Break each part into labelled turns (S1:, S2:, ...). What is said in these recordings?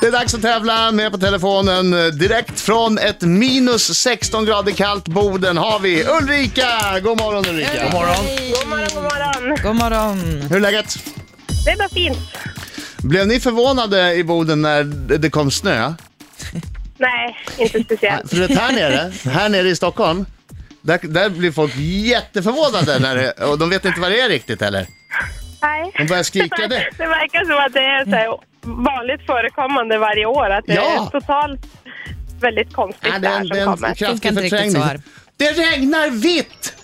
S1: Det är dags att tävla. Med på telefonen eh, direkt från ett minus 16 grader kallt Boden har vi Ulrika. God morgon Ulrika.
S2: morgon.
S3: God morgon, god morgon.
S2: God morgon.
S1: Hur är läget?
S3: Det är bara fint.
S1: Blev ni förvånade i Boden när det det kom snö?
S3: Nej, inte speciellt.
S1: För att här nere, här nere i Stockholm, där, där blir folk jätteförvånade när det, och de vet inte vad det är riktigt heller.
S3: Nej.
S1: De börjar skrika det.
S3: Det verkar som att det är så här vanligt förekommande varje år. Att det
S1: Ja.
S3: är totalt väldigt konstigt
S1: Ja, det är
S3: där
S1: en, det
S3: som
S1: är en
S3: kommer.
S2: Funkar
S1: kraftig
S2: inte riktigt
S1: förträngning.
S2: så här.
S1: Det regnar vitt!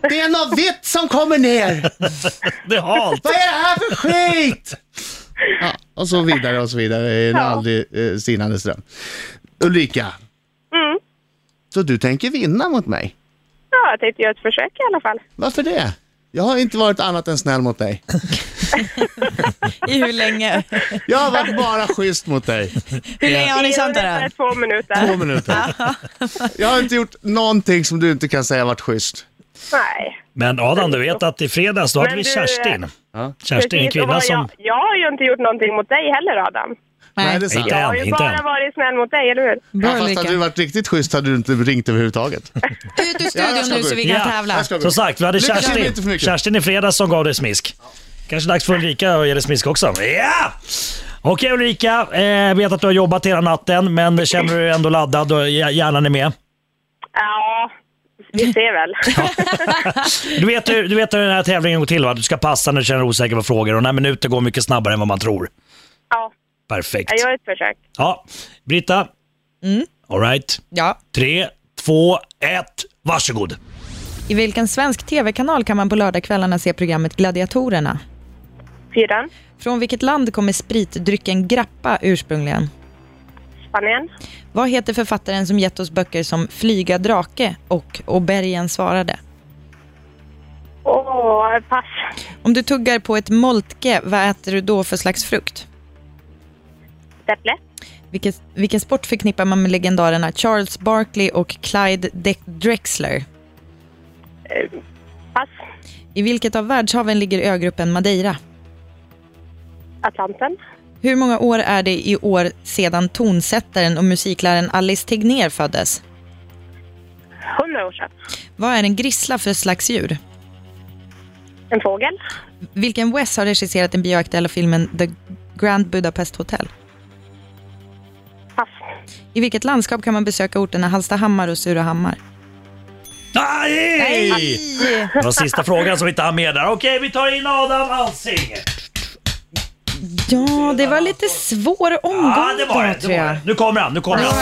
S1: Det är något vitt som kommer ner!
S4: Det är halt.
S1: Vad är det här för skit? Ja, och så vidare och så vidare i en
S3: Ja.
S1: aldrig eh, sinande ström. Ulrika,
S3: Mm.
S1: så du tänker vinna mot mig?
S3: Ja, jag tänkte göra ett försök i alla fall.
S1: Varför det? Jag har inte varit annat än snäll mot dig.
S2: I hur länge?
S1: Jag har varit bara schysst mot dig.
S2: Hur länge har ni känt
S3: Ungefär
S2: varandra?
S3: två
S1: Två
S3: minuter.
S1: minuter. Jag har inte gjort någonting som du inte kan säga varit schysst.
S3: Nej.
S4: Men Adam, du vet att i fredags då hade
S3: Men
S4: vi
S3: du,
S4: Kerstin.
S3: eh,
S1: Ja.
S4: Kerstin,
S3: Precis,
S4: en
S3: och
S4: kvinna
S3: vad
S4: som...
S3: jag, jag har ju inte gjort någonting mot dig heller, Adam.
S1: Nej, det är sant.
S4: Inte
S3: Jag har
S4: än,
S3: ju
S4: inte
S3: bara
S4: än.
S3: varit snäll mot dig, eller hur?
S2: Bra,
S1: Ja, fast
S2: Ulrika.
S1: hade du varit riktigt schysst hade du inte ringt överhuvudtaget.
S2: Ut ur
S1: Ja, jag
S2: studion
S1: ska
S2: nu
S1: gå
S2: så
S1: ut.
S2: vi kan
S4: Ja,
S2: tävla.
S1: Jag ska gå.
S4: Som sagt, vi hade
S1: Lycka till, inte för
S4: Kerstin,
S1: mycket.
S4: Kerstin i fredags som gav dig smisk. Kanske dags för Ulrika att ge dig smisk också. Ja! Okej Ulrika, eh, vet att du har jobbat hela natten men känner du dig ändå laddad och hj- hjärnan är med?
S3: Ja, vi ser väl.
S4: Du vet, hur- du vet hur den här tävlingen går till va? Du ska passa när du känner dig osäker på frågor och den här minuten går mycket snabbare än vad man tror.
S3: Ja,
S4: Perfekt.
S3: jag gör ett försök.
S4: Ja, Britta.
S2: Mm.
S4: All right.
S2: Ja.
S4: Tre, två, ett, varsågod.
S2: I vilken svensk tv-kanal kan man på lördagskvällarna se programmet Gladiatorerna?
S3: Fyran,
S2: Från vilket land kommer spritdrycken Grappa ursprungligen?
S3: Spanien,
S2: Vad heter författaren som gett oss böcker som Flyga drake och Och bergen svarade?
S3: Åh, pass.
S2: Om du tuggar på ett moltke, vad äter du då för slags frukt?
S3: Säffle,
S2: Vilken, vilken sport förknippar man med legendarerna Charles Barkley och Clyde De- Drexler?
S3: Eh, pass.
S2: I vilket av världshaven ligger ögruppen Madeira?
S3: Atlanten,
S2: Hur många år är det i år sedan tonsättaren och musikläraren Alice Tegnér föddes?
S3: 100 år sedan.
S2: Vad är en grissla för slags djur?
S3: En fågel,
S2: Vilken Wes har regisserat den bioaktuella filmen The Grand Budapest Hotel?
S3: pass.
S2: I vilket landskap kan man besöka orterna Hallstahammar och Surahammar?
S4: Nej! Det var sista frågan som vi inte hann med där. Okej, vi tar in Adam Alsing.
S2: Ja, det var lite svår omgång
S4: Ja, Ah, det var
S2: då,
S4: det.
S2: tror
S4: det, var
S2: jag.
S4: det. Nu kommer han, nu kommer han.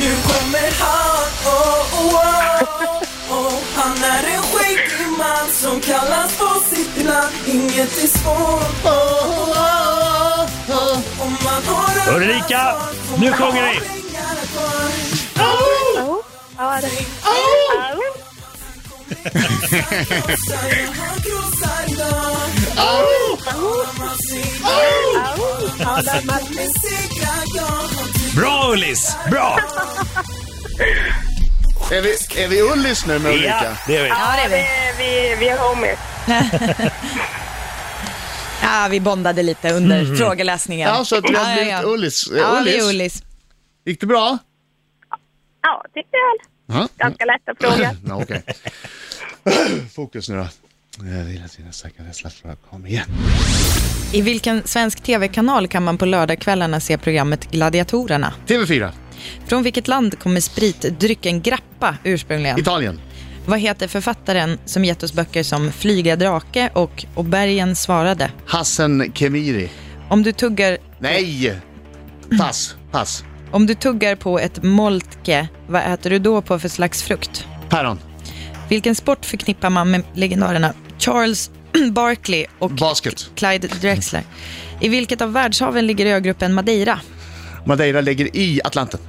S5: Nu kommer han, oh, oh, oh, oh. Han är en skäggig man som kallas på sitt namn Inget är svårt, oh, oh, oh, oh. Om man har
S4: Ulrika, nu sjunger vi.
S3: Ja, det... Au.
S4: Bra Ullis! Bra!
S1: Är vi, är vi Ullis nu med
S4: Ja,
S1: Ulrika?
S4: det är vi.
S2: Ja, det är vi.
S3: Eh, Vi, vi är homies.
S2: Ja, vi bondade lite under
S4: Mhm.
S2: frågeläsningen.
S1: Ja, så att vi
S2: Ja,
S1: har
S2: ja, ja.
S1: blivit Ullis. Eh,
S2: Ja, vi är
S1: Ullis.
S2: Ullis.
S1: Gick det bra?
S3: Ja, tyckte jag. väl.
S1: Ja.
S3: Ganska lätta frågor.
S1: Ja, okej. Fokus nu då. Jag vill att dina stackare slappnar Kom igen.
S2: I vilken svensk tv-kanal kan man på lördagskvällarna se programmet Gladiatorerna?
S1: TV4,
S2: Från vilket land kommer spritdrycken Grappa ursprungligen?
S1: Italien.
S2: Vad heter författaren som gett oss böcker som Flyga drake och Och bergen svarade?
S1: Hassan Kemiri.
S2: Om du tuggar,
S1: Nej! Pass, pass.
S2: om du tuggar på ett moltke, vad äter du då på för slags frukt?
S1: Päron.
S2: Vilken sport förknippar man med legendarerna Charles Barkley och
S1: Basket.
S2: Clyde Drexler? I vilket av världshaven ligger ögruppen Madeira?
S1: Madeira ligger i Atlanten.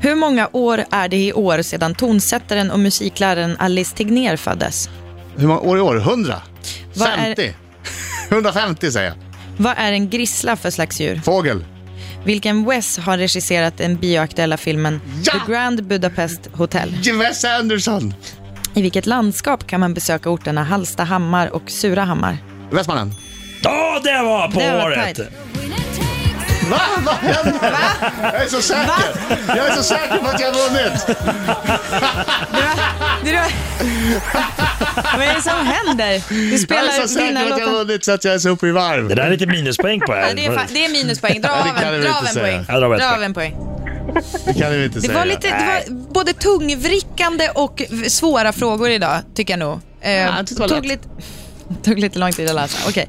S2: Hur många år är det i år sedan tonsättaren och musikläraren Alice Tegnér föddes?
S1: Hur många år i år? 100?
S2: Vad är-
S1: 50? 150 säger jag.
S2: Vad är en grissla för slags djur?
S1: Fågel.
S2: Vilken Wes har regisserat den bioaktuella filmen
S1: Ja!
S2: The Grand Budapest Hotel?
S1: Wes Anderson.
S2: I vilket landskap kan man besöka orterna Hallstahammar och Surahammar?
S1: Västmannen.
S4: Ja, det var på
S2: Det var
S4: året!
S2: tajt.
S1: Va? Vad händer? Jag är så säker. Jag är så säker på att jag har vunnit.
S2: Du, vad är det som händer? Du
S1: Jag är så
S2: spelar
S1: säker
S2: dina
S1: på att jag har
S2: låtar.
S1: vunnit så att jag är så uppe i varv.
S4: Det där är lite minuspoäng på
S2: Ja,
S4: här.
S2: det, är fa- det är minuspoäng. Dra av
S1: det kan vi
S2: en, dra
S1: inte
S2: av en
S1: säga.
S2: poäng.
S4: Ja, dra av en
S2: Dra
S4: poäng.
S2: av en poäng.
S1: Det kan vi inte
S2: Det
S1: säga.
S2: var, lite, det var både tungvrickande och v- svåra frågor idag, tycker jag nog. Eh, tog, lite, tog lite lång tid att läsa. Okej.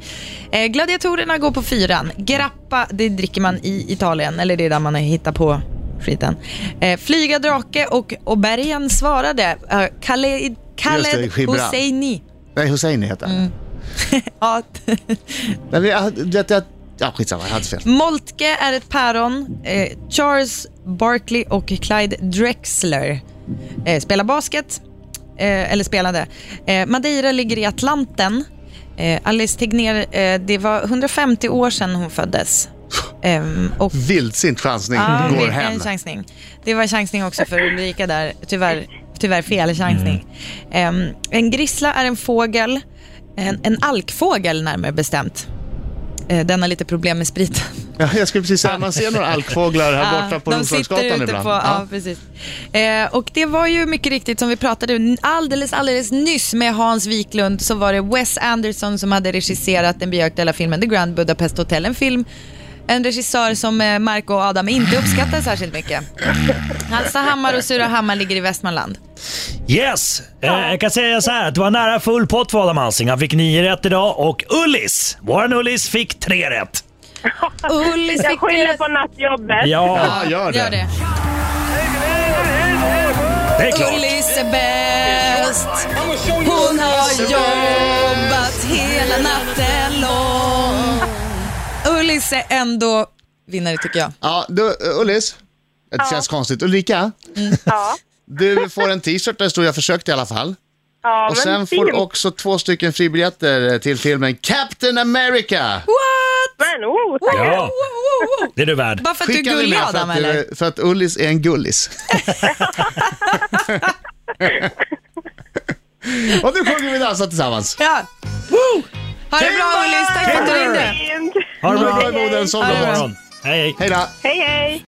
S2: Eh, gladiatorerna går på fyran. Grappa, det dricker man i Italien, eller det är där man hittar på skiten. Eh, flyga drake och Obergen svarade eh, Khaled, Khaled
S1: Gibran.
S2: Hosseini.
S1: Nej, Hussein heter han.
S2: Mm. Ja.
S1: Nej, men jag, det, jag, ja, skitsamma, jag hade fel.
S2: Moltke är ett päron. Eh, Charles Barkley och Clyde Drexler eh, spelar basket, eh, eller spelade. Eh, Madeira ligger i Atlanten. Eh, Alice Tegner, eh, det var 150 år sedan hon föddes. Ehm, och
S1: Vildsint chansning
S2: Ja,
S1: Mm. går
S2: det-
S1: hem.
S2: En chansning. Det var chansning också för Ulrika där. Tyvärr, tyvärr fel chansning.
S1: Mm.
S2: Em, en grissla är en fågel. En, en alkfågel närmare bestämt. Eh, den har lite problem med spriten.
S1: Ja, jag skulle precis säga, man ser några alkfåglar här borta på
S2: Ah, de sitter
S1: Roslagsgatan
S2: ute
S1: ibland.
S2: på... Ja.
S1: ja.
S2: precis. Eh, och det var ju mycket riktigt som vi pratade n- alldeles, alldeles nyss med Hans Wiklund så var det Wes Anderson som hade regisserat den bejakta filmen The Grand Budapest Hotel. En film, en regissör som eh, Marco och Adam inte uppskattar särskilt mycket. Hallstahammar och Surahammar ligger i Västmanland.
S4: Yes! Eh, jag kan säga så här att det var nära full pott för Adam Alsing. Han fick nio rätt idag och Ullis, våran Ullis, fick tre rätt.
S2: Ullis
S3: Jag skyller på nattjobbet.
S4: Ja,
S1: Ja, gör det.
S2: Gör det.
S4: det är klart.
S2: Ullis är bäst. Hon har jobbat hela natten lång. Ullis är ändå vinnare tycker jag.
S1: Ja, du, eh, Ullis. Det känns konstigt. Ulrika,
S3: Ja.
S1: du får en t-shirt där det står jag försökte i alla fall.
S3: Ja,
S1: Och
S3: men
S1: sen får
S3: fint.
S1: du också två stycken fribiljetter eh, till filmen Captain America.
S2: What?
S3: Men, oh, tack.
S4: Ja. Det är du värd.
S2: Bara för att du är
S1: Skicka den
S2: gullig
S1: med för
S2: Adam
S1: att, eh,
S2: eller?
S1: För att Ullis är en gullis. Och nu sjunger vi dansa tillsammans.
S2: Ja. Woo! Ha det bra Ullis, tack för att du ringde.
S3: Fint.
S4: Ha det
S1: Ha
S4: bra.
S1: det bra, Boden. Sov
S2: Ha det
S1: bra.
S2: bra.
S4: God morgon. Hej, hej.
S1: Hej då.
S3: Hej, hej.